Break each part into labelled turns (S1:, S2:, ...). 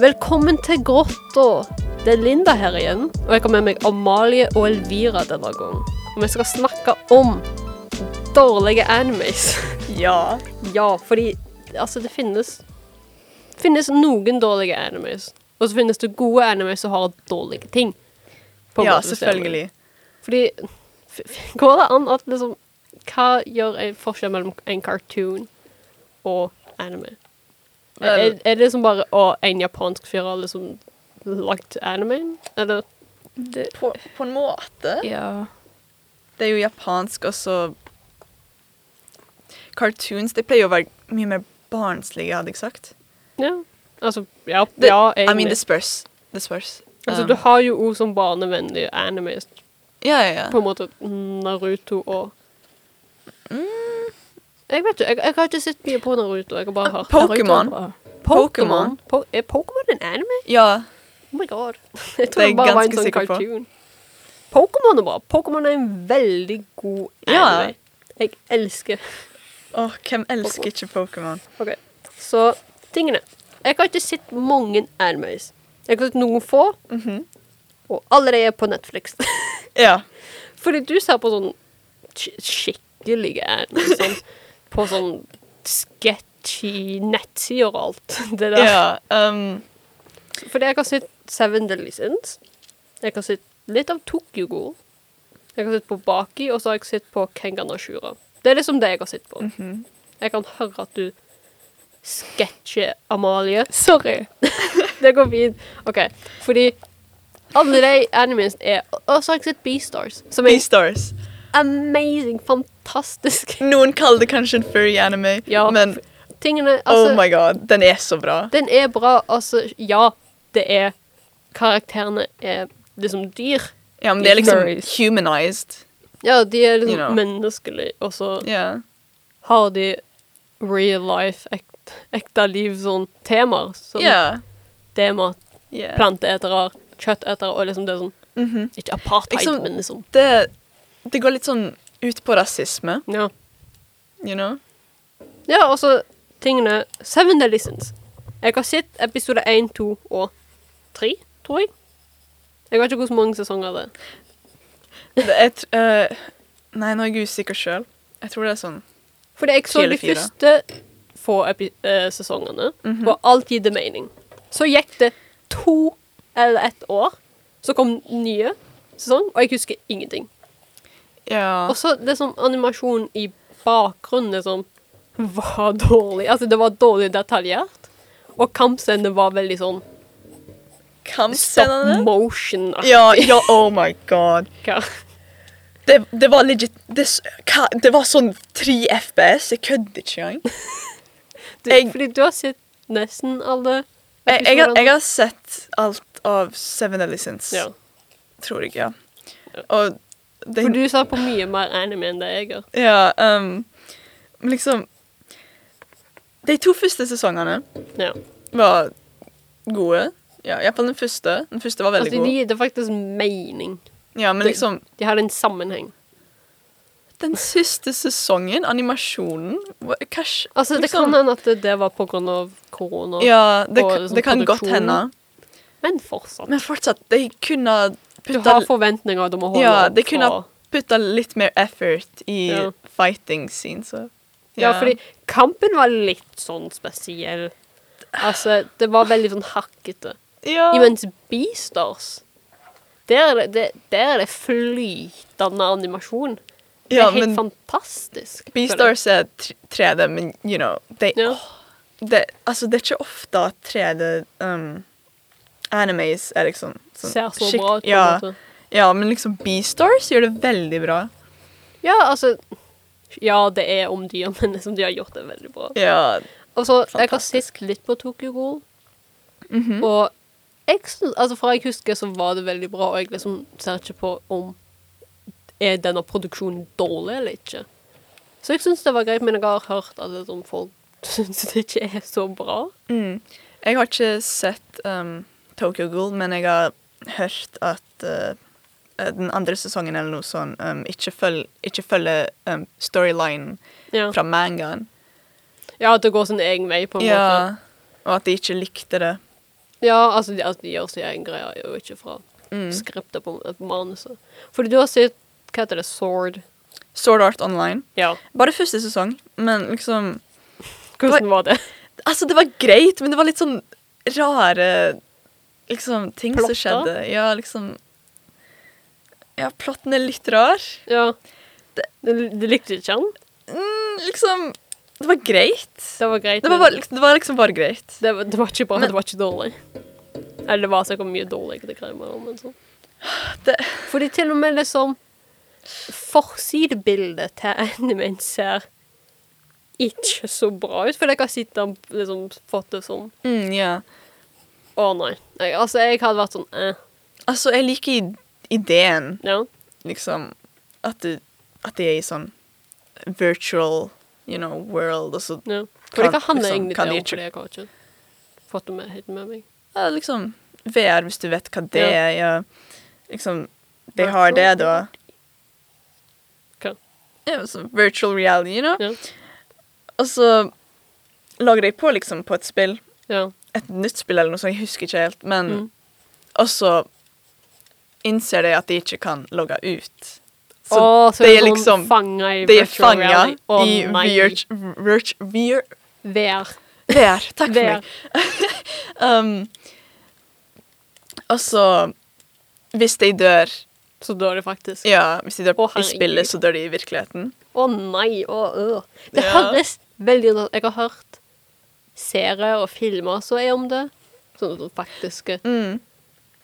S1: Velkommen til grotta. Det er Linda her igjen, og jeg har med meg Amalie og Elvira denne gangen. Og vi skal snakke om dårlige animes.
S2: Ja.
S1: ja, fordi altså, det finnes finnes noen dårlige animes, og så finnes det gode animes som har dårlige ting. på en
S2: ja,
S1: måte, hvis det er noe.
S2: selvfølgelig.
S1: Fordi f- f- Går det an at liksom Hva gjør en forskjell mellom en cartoon og anime? Er, er- er det liksom bare å, en japansk fyr har liksom lagt anime? Eller det,
S2: På, på en måte.
S1: Ja.
S2: Det er jo japansk, og så Cartoons de pleier jo å være mye mer barnslige, hadde jeg sagt.
S1: ja. Altså, ja,
S2: Det-
S1: ja
S2: I mean,
S1: egentlig.
S2: det spørs. Det spørs.
S1: altså,
S2: Um,
S1: du har jo ord som barnevennlig anime,
S2: ja, ja, ja.
S1: på en måte Naruto og
S2: Mm.
S1: Jeg vet ikke, jeg, jeg har ikke sett mye på Naruto. Jeg har bare hørt
S2: Ah, Pokémon. Pokémon.
S1: Po er Pokémon en anime?
S2: Ja.
S1: Oh my god. Jeg tror
S2: Det er
S1: det,
S2: jeg
S1: bare var en
S2: ganske
S1: sånn
S2: sikker på.
S1: cartoon. Pokémon er bra. Pokémon er en veldig god anime. Jeg elsker
S2: Åh, hvem elsker ikke Pokémon?
S1: Ok. Så tingene Jeg har ikke sett mange animes. Jeg har sett noen få, og alle de er på Netflix.
S2: Mhm. Ja.
S1: Fordi du ser på sånn sk- skikkelige animes. Sånn, på sånn sketchy nettsider og alt. Det der.
S2: ja um,
S1: Fordi jeg har sett Seven Deadly Sins. Jeg har sett litt av Tokyo Ghoul. Jeg har sett på Baki, og så har jeg sett på Kengan Ashura. Det er liksom det jeg har sett på.
S2: Mhm.
S1: Jeg kan høre at du sketsjer Amalie. Sorry. det går fint. OK. Fordi alle de animene er Og så har jeg sett Beastars, som er en
S2: Beastars.
S1: amazing, fantastisk
S2: Noen kaller det kanskje en furry anime,
S1: Ja,
S2: men
S1: Tingene altså,
S2: oh my god, den er så bra.
S1: Den er bra. Altså, ja, det er Karakterene er liksom dyr.
S2: Ja, men det er liksom
S3: Furries.
S2: humanized.
S1: Ja, de er liksom
S2: You know.
S1: menneskelige, og så
S2: Ja.
S1: har de real life, ekte, ekte liv, sånn temaer. Som
S2: Ja.
S1: tema,
S2: ja.
S1: planteetere, kjøttetere, og liksom det er sånn
S2: Mhm.
S1: Ikke apartheid,
S2: Liksom-
S1: men liksom
S2: det, det går litt sånn ut på rasisme,
S1: Ja,
S2: you know?
S1: ja og så tingene Seven Deadly Sins. Jeg har sett episode én, to og tre, tror jeg. Jeg vet ikke hvor mange sesonger det er.
S2: Det er, et, eh, nei, nå er jeg usikker sjøl. Jeg tror det er sånn.
S1: Fordi jeg så
S2: Tre
S1: de
S2: eller fire.
S1: første få epi eh, sesongene,
S2: Mhm.
S1: og alt gir det mening. Så gikk det to eller ett år, så kom nye sesong, og jeg husker ingenting.
S2: Ja.
S1: Og så det som animasjon i bakgrunnen liksom, var dårlig. Altså, det var dårlig detaljert. Og kampscenene var veldig sånn
S2: Mm,
S1: stop
S2: Kampscenene?
S1: motion.
S2: Ja, ja, oh my god. Det, det var legit det, s- hva, det var sånn 3 FPS. Jeg kødder ikke engang.
S1: Du,
S2: Jeg-
S1: fordi du har sett nesten alle
S2: Jeg, jeg, har-
S1: episodene.
S2: jeg har sett alt av Seven Ellisons,
S1: ja.
S2: tror jeg. ja. Og det,
S1: For du ser på mye mer anime enn det jeg gjør.
S2: Ja, ehm, men liksom De to første sesongene
S1: Ja.
S2: var gode. Ja, Iallfall den første. Den første var veldig
S1: Altså, de
S2: god.
S1: gir det faktisk mening.
S2: Ja, men
S1: de-
S2: liksom
S1: De hadde en sammenheng.
S2: Den siste sesongen, animasjonen hva- Hva skj-
S1: Altså, Det
S2: liksom-
S1: kan hende at det- det var på grunn av korona,
S2: Ja, det,
S1: og
S2: kan-
S1: liksom
S2: det kan godt
S1: produksjonen.
S2: hende.
S1: men fortsatt.
S2: Men fortsatt, de kunne
S1: Du har
S2: putta,
S1: forventninger du må holde
S2: Ja,
S1: opp
S2: det kunne-
S1: fra.
S2: putta litt mer effort i
S1: Ja.
S2: fighting scenes. så-
S1: Ja, fordi kampen var litt sånn spesiell. Altså, det var veldig sånn hakkete.
S2: ja.
S1: Imens Beastars der er det, det, der er det flytende animasjon. Det
S2: ja,
S1: er helt
S2: men
S1: fantastisk.
S2: Beastars er tr- 3D, men you know they,
S1: Ja.
S2: åh, det, altså, det er ikke ofte at 3D um, Animes er liksom sånn
S1: Ser så
S2: skikk-
S1: bra ut. på en
S2: ja,
S1: måte.
S2: ja, men liksom Beastars gjør det veldig bra.
S1: ja, altså Ja, det er om dyr, men liksom, de har gjort det veldig bra.
S2: Ja,
S1: Altså, jeg har
S2: Fantastisk.
S1: sett litt på Tokyo Ghoul, og jeg syns Altså, fra jeg husker, så var det veldig bra, og jeg liksom ser ikke på om er denne produksjonen dårlig eller ikke. Så jeg syns det var greit, men jeg har hørt at det er sånn folk syns det ikke er så bra.
S2: Mm. Jeg har ikke sett um, Tokyo Ghoul, men jeg har hørt at eh, eh, den andre sesongen eller noe sånn um, ikke følger ikke følger, um, storylinen
S1: Ja.
S2: fra mangaen.
S1: ja, at det går sin egen vei, på en måte.
S2: Ja, og at de ikke likte det.
S1: Ja, altså de, at de gjør sin egen greie, og ikke fra skriptet på, på manuset. Fordi du har sett Hva heter det? Sword?
S2: Sword Art Online.
S1: Ja.
S2: Bare første sesong, men liksom
S1: Hvordan var det?
S2: Altså, det var greit, men det var litt sånn rare liksom, ting
S1: Plotter?
S2: som skjedde. Ja, liksom Ja, plotten er litt rar.
S1: Ja. Du, du likte ikke den?
S2: Mm, liksom Det var greit.
S1: Det var greit.
S2: Det var,
S1: men-
S2: bare, det var liksom bare greit.
S1: det, var, det var ikke bra,
S2: Men-
S1: det var ikke dårlig. Eller det var sikkert mye dårligere greier mellom, men sånn.
S2: Det,
S1: Fordi til og med liksom Forsidebildet til animen ser ikke så bra ut, for jeg har sett den liksom fått det sånn
S2: mm, ja.
S1: Å nei. Jeg, altså, jeg hadde vært sånn eh.
S2: Altså, jeg liker id- ideen,
S1: Ja.
S2: liksom At, du, at det er i sånn virtual, you know, world, og så
S1: ja.
S2: Kan-
S1: For det handler
S2: liksom,
S1: egentlig
S2: kan
S1: det
S2: de
S1: om,
S2: ikke-
S1: fordi jeg har ikke fått det med, helt med meg.
S2: ja, liksom VR, hvis du vet hva det
S1: Ja.
S2: er. Ja. Liksom, de har det, da.
S1: Hva?
S2: Ja, så virtual reality, you know?
S1: Ja.
S2: Og så lager de på liksom på et spill.
S1: ja.
S2: Et nytt spill eller noe sånt, jeg husker ikke helt. Men
S1: Mm.
S2: Og så innser de at de ikke kan logge ut. Så
S1: Så, Åh, så
S2: de
S1: det
S2: er
S1: er liksom
S2: liksom-
S1: fanga i
S2: de er
S1: virtual
S2: fanga
S1: reality. Å,
S2: i
S1: nei.
S2: virt- virt- vir-
S1: VR.
S2: VR. Takk for
S1: VR.
S2: meg. Um, og så Hvis de dør
S1: Så da er det faktisk
S2: Ja, hvis de dør
S1: Å,
S2: i
S1: herregud.
S2: spillet, så dør de i virkeligheten.
S1: Å nei, å øh. Det
S2: Ja.
S1: høres veldig interessant Jeg har hørt serier og filmer som er om det. Sånn sånn faktiske.
S2: Mm.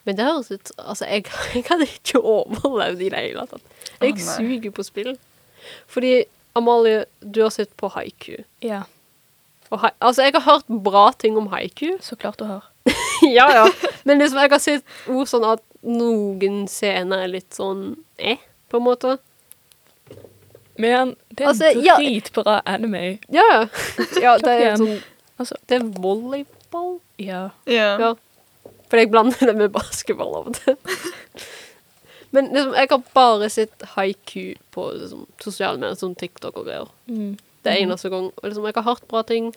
S1: Men det høres ut Altså, jeg, jeg hadde ikke overlevd i det hele tatt. Jeg
S2: Å, nei.
S1: suger på spill. Fordi, Amalie, du har sett på haiku.
S3: Ja,
S1: Og hai, altså, jeg har hørt bra ting om haiku.
S3: så klart du har.
S1: ja, ja. Men liksom, jeg har sett ord sånn at noen scener er litt sånn eh, på en måte.
S3: Men det er
S1: Altså, ja.
S3: dritbra anime.
S1: Ja, ja. ja det er
S3: igjen.
S1: sånn
S3: Altså,
S1: Det er volleyball.
S3: ja.
S2: Ja.
S1: Ja. For jeg blander det med basketball av og til. Men liksom, jeg har bare sett haiku på liksom, sosiale medier, sånn TikTok og greier.
S3: Mm.
S1: Det er eneste gang. Og liksom, jeg har hørt bra ting,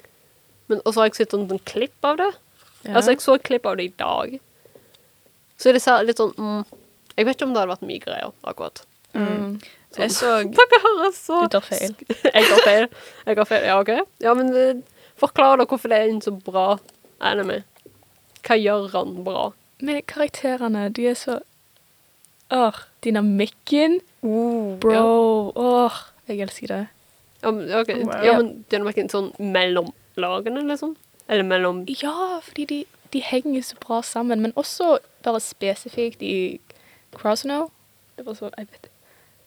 S1: men og så har jeg sett sånn, sånn klipp av det.
S3: Ja.
S1: Altså, jeg så et klipp av det i dag. Så det ser litt sånn mm, Jeg vet ikke om det hadde vært mye greier, akkurat.
S3: Mm.
S2: Jeg så
S1: Sånn. Dere høres så
S3: Du tar feil.
S1: Jeg tar feil. Jeg tar feil. Ja, OK. Ja, men eh, forklar da hvorfor det er en så bra anime. Hva gjør han bra?
S3: Men karakterene, de er så Åh, dynamikken.
S1: Uh, Ja.
S3: Bro. Åh, jeg elsker det.
S1: Ja, men, ok.
S2: Wow.
S1: ja, men det er nok ikke sånn mellom lagene, liksom? Eller mellom
S3: Ja, fordi de, de henger så bra sammen, men også bare spesifikt i Crossno. Det var sånn, jeg vet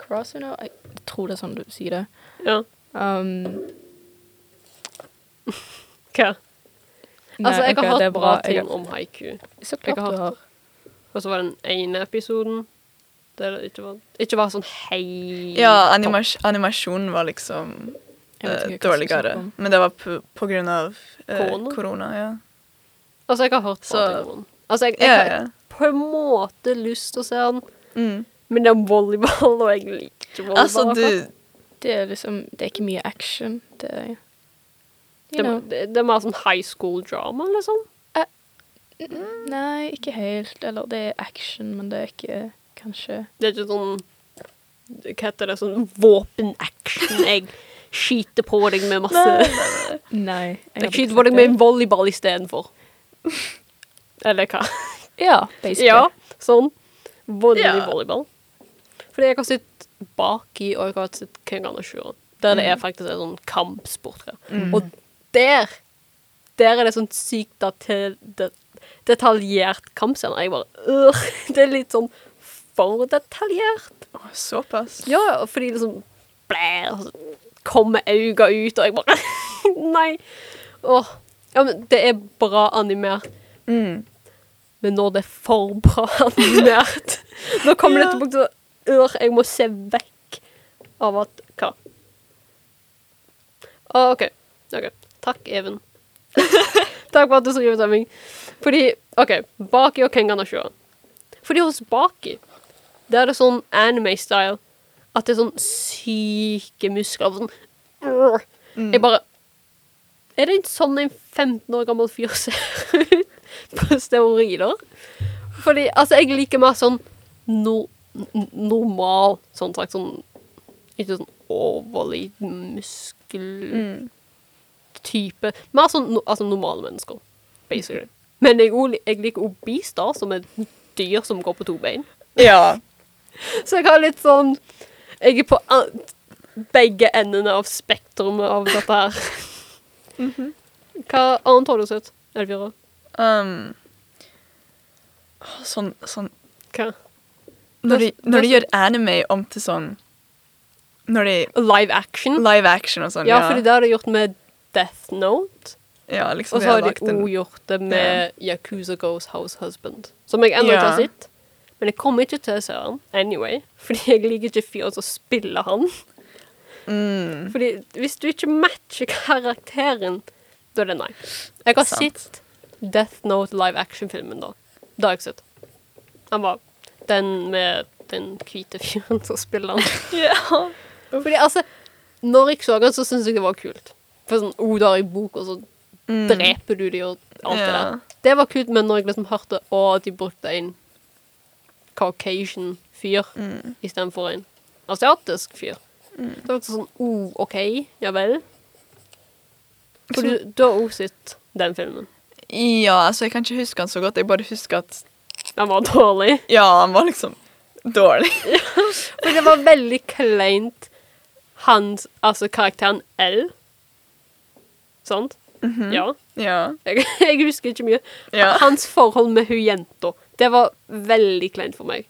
S3: Crossno? Jeg tror det er sånn du sier det.
S1: Ja, Altså,
S3: Um,
S1: hva?
S3: nei,
S1: altså, jeg
S3: ok,
S1: har
S3: det er
S1: hørt bra ting
S3: Jeg-
S1: om haiku.
S3: Så
S1: Jeg
S3: klart
S1: har
S3: du
S1: hørt
S3: har.
S1: Og så var den ene episoden der det ikke var, ikke var sånn hei
S2: Ja, animas animasjonen var liksom
S3: Jeg vet
S2: eh,
S3: ikke hva som snakker
S2: dårligere.
S3: om.
S2: Men det var på, på grunn av eh,
S1: Korona?
S2: korona. ja.
S1: Altså, jeg har hørt bra
S2: Så-
S1: ting om den. Altså, jeg, jeg
S2: Ja,
S1: har
S2: ja.
S1: på en måte lyst til å se den,
S2: Mm.
S1: men det er volleyball, og jeg liker ikke volleyball.
S2: Altså,
S1: akkurat.
S2: du
S3: Det er liksom Det er ikke mye action. Det er You
S1: det,
S3: know.
S1: det, det er mer sånn high school drama, liksom.
S3: Nei, ikke helt. Eller det er action, men det er ikke Kanskje
S1: Det er ikke sånn Hva heter det? Sånn våpenaction. Jeg skyter på deg med masse
S3: Nei.
S1: Jeg skyter på deg med en volleyball istedenfor. Eller hva?
S3: Ja, basically.
S1: Ja, sånn. Voldelig
S2: Ja.
S1: volleyball. Fordi jeg har sett baki, og jeg har sett Kenganashura. Der det er faktisk en sånn kampsport. ja. Og der Der er det sånn sykt dete- det- detaljert kampscene. Jeg bare øh, Det er litt sånn for detaljert.
S2: Å, Såpass.
S1: Ja, og fordi liksom blær, og så kommer øynene ut, og jeg bare Nei. Åh. Ja, men det er bra animert.
S2: Mm.
S1: Men når det er for bra animert Nå kommer det
S2: Ja.
S1: til punkt så ør, jeg må se vekk av at Hva? Å, OK. ok. Takk, Even. Takk for at du så ut av meg. Fordi OK, Baki og Kengan og Shua. Fordi hos Baki der er det sånn anime-style at det er sånn syke muskler og sånn ør. Jeg bare Er det en sånn en 15 år gammel fyr ser ut på steroider? Fordi altså, jeg liker mer sånn no, n- normal sånn sagt. Sånn, ikke sånn overlig muskeltype.
S2: Mm.
S1: Mer sånn no, altså, normale mennesker, basically. Men jeg, ol- jeg liker òg biester, som er dyr som går på to bein.
S2: Ja.
S1: Så jeg har litt sånn Jeg er på an- begge endene av spektrumet av dette her.
S2: Mhm.
S1: Hva annet har du sett, Elvira?
S2: Um, å, sånn, sånn
S1: Hva?
S2: når, de,
S1: Det-
S2: når de
S1: det-
S2: gjør anime om til sånn Når de
S1: Live
S3: Mm.
S1: action?
S2: Live action og sånn.
S1: ja, fordi det har de gjort med Death Note.
S2: ja, liksom
S1: Og så
S2: de
S1: har de
S2: lagt en-
S1: også gjort det med Yakuza Goes House Husband. Som jeg ennå ikke har
S2: Ja.
S1: sett. Men jeg kommer ikke til å se han anyway, fordi jeg liker ikke fyren som spiller han.
S2: mm,
S1: Fordi hvis du ikke matcher karakteren, da er det nei. Jeg har
S2: Sant.
S1: sett Death Note live action-filmen, da. Det har jeg sett. Han var den med den hvite fyren som spiller han.
S2: ja.
S1: Fordi altså, når jeg så han, så syntes jeg det var kult. For sånn, oh, da har jeg bok, og så
S2: Mm.
S1: dreper du de og alt det
S2: Ja.
S1: der. Det var kult, men når jeg liksom hørte å, de brukte en Caucasian fyr
S2: Mm.
S1: istedenfor en asiatisk fyr. Det var sånn oh, OK, ja vel. For
S2: Som-
S1: du, du har også sett den filmen.
S2: ja, altså jeg kan ikke huske han så godt. Jeg bare husker at
S1: Den var dårlig.
S2: Ja, han var liksom dårlig.
S1: For det var veldig kleint hans Altså karakteren L. Sant?
S2: Mhm.
S1: Ja.
S2: ja.
S1: Jeg, jeg husker ikke mye.
S2: Ja.
S1: Hans forhold med hun jenta, det var veldig kleint for meg.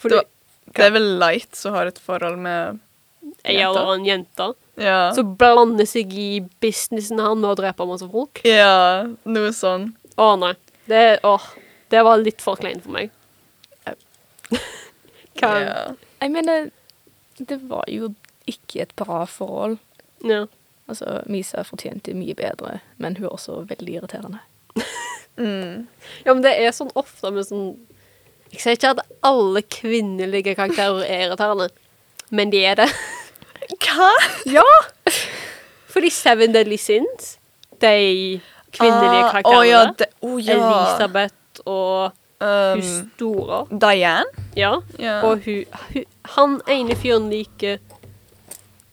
S1: Fordi
S2: Det, var, det er vel Light som har et forhold med
S1: jeg
S2: jenta.
S1: eller en jente
S2: Ja.
S1: som blander seg i businessen han med å drepe masse folk.
S2: ja, noe sånn.
S1: Å nei. Det, åh, det var litt for kleint for meg. Hva?
S2: Ja.
S3: Jeg mener, det var jo ikke et bra forhold.
S1: Ja.
S3: Altså, Misa fortjente mye bedre, men hun er også veldig irriterende.
S2: Mm.
S1: ja, men det er sånn ofte med sånn Jeg sier ikke at alle kvinnelige karakterer er irriterende, men de er det.
S2: Hva?
S1: Ja! Fordi Seven Deadly Sins, de kvinnelige
S2: Ah,
S1: karakterene
S2: Å ja, det, å, ja.
S1: Elisabeth og hun
S2: Um,
S1: store.
S2: Diane?
S1: Ja.
S2: Ja.
S1: Og hun, hun Han ene fyren liker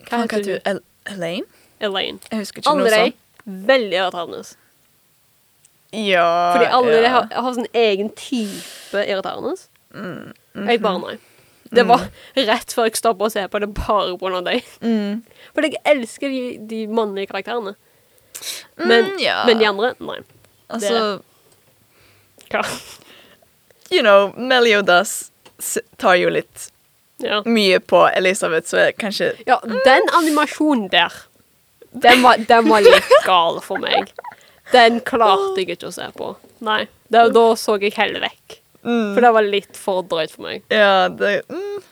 S1: Hva
S2: Faen,
S1: heter hun?
S2: El Elaine?
S1: Elaine.
S2: Jeg husker ikke
S1: Alle
S2: noe sånn. sånt.
S1: de veldig irriterende.
S2: Ja,
S1: Fordi alle
S2: ja.
S1: de har, har sin egen type irriterende.
S2: Mm,
S1: Jeg
S2: mhm.
S1: bare nei. Det var rett før jeg stoppa å se på det bare pga. deg.
S2: Mm.
S1: For jeg elsker de, de mannlige karakterene. Men,
S2: Mm, ja.
S1: men de andre nei.
S2: Altså,
S1: Hva?
S2: you know, Meliodas s- tar jo litt
S1: Ja.
S2: mye på Elisabeth, så jeg kanskje
S1: ja, den animasjonen der, den var, den var litt gal for meg. Den klarte jeg ikke å se på. Nei. Da, da så jeg heller vekk. For
S2: mm,
S1: det var litt for drøyt for meg.
S2: Ja, det mm.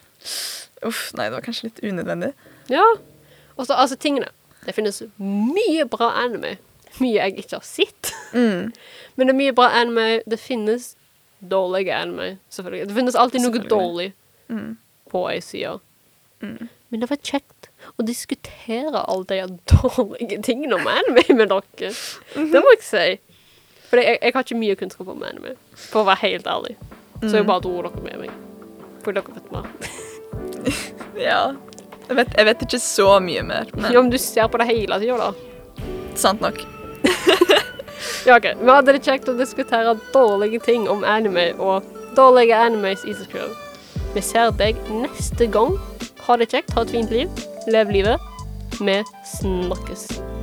S2: Uff, nei, det var kanskje litt unødvendig.
S1: Ja. Og så, altså, tingene Det finnes mye bra anime. Mye jeg ikke har sett.
S2: Mm.
S1: Men det er mye bra anime. Det finnes dårlige anime, selvfølgelig. Det finnes alltid noe
S2: Selvfølgelig.
S1: dårlig
S2: Mm.
S1: på ei side.
S2: Mm.
S1: Men det var kjekt å diskutere alle de dårlige tingene om anime med dere. Det må jeg si. For jeg, jeg har ikke mye kunnskap om anime, for å være helt ærlig. Så jeg bare dro dere med meg. For dere vet mer.
S2: Ja. Jeg vet, jeg vet ikke så mye mer,
S1: Ja,
S2: men
S1: men du ser på det hele tida, da.
S2: sant nok.
S1: Ja, ok. Vi hadde det kjekt å diskutere dårlige ting om anime og dårlige animes i seg selv. Vi ser deg neste gang. Ha det kjekt, ha et fint liv. Lev livet. Vi snakkes.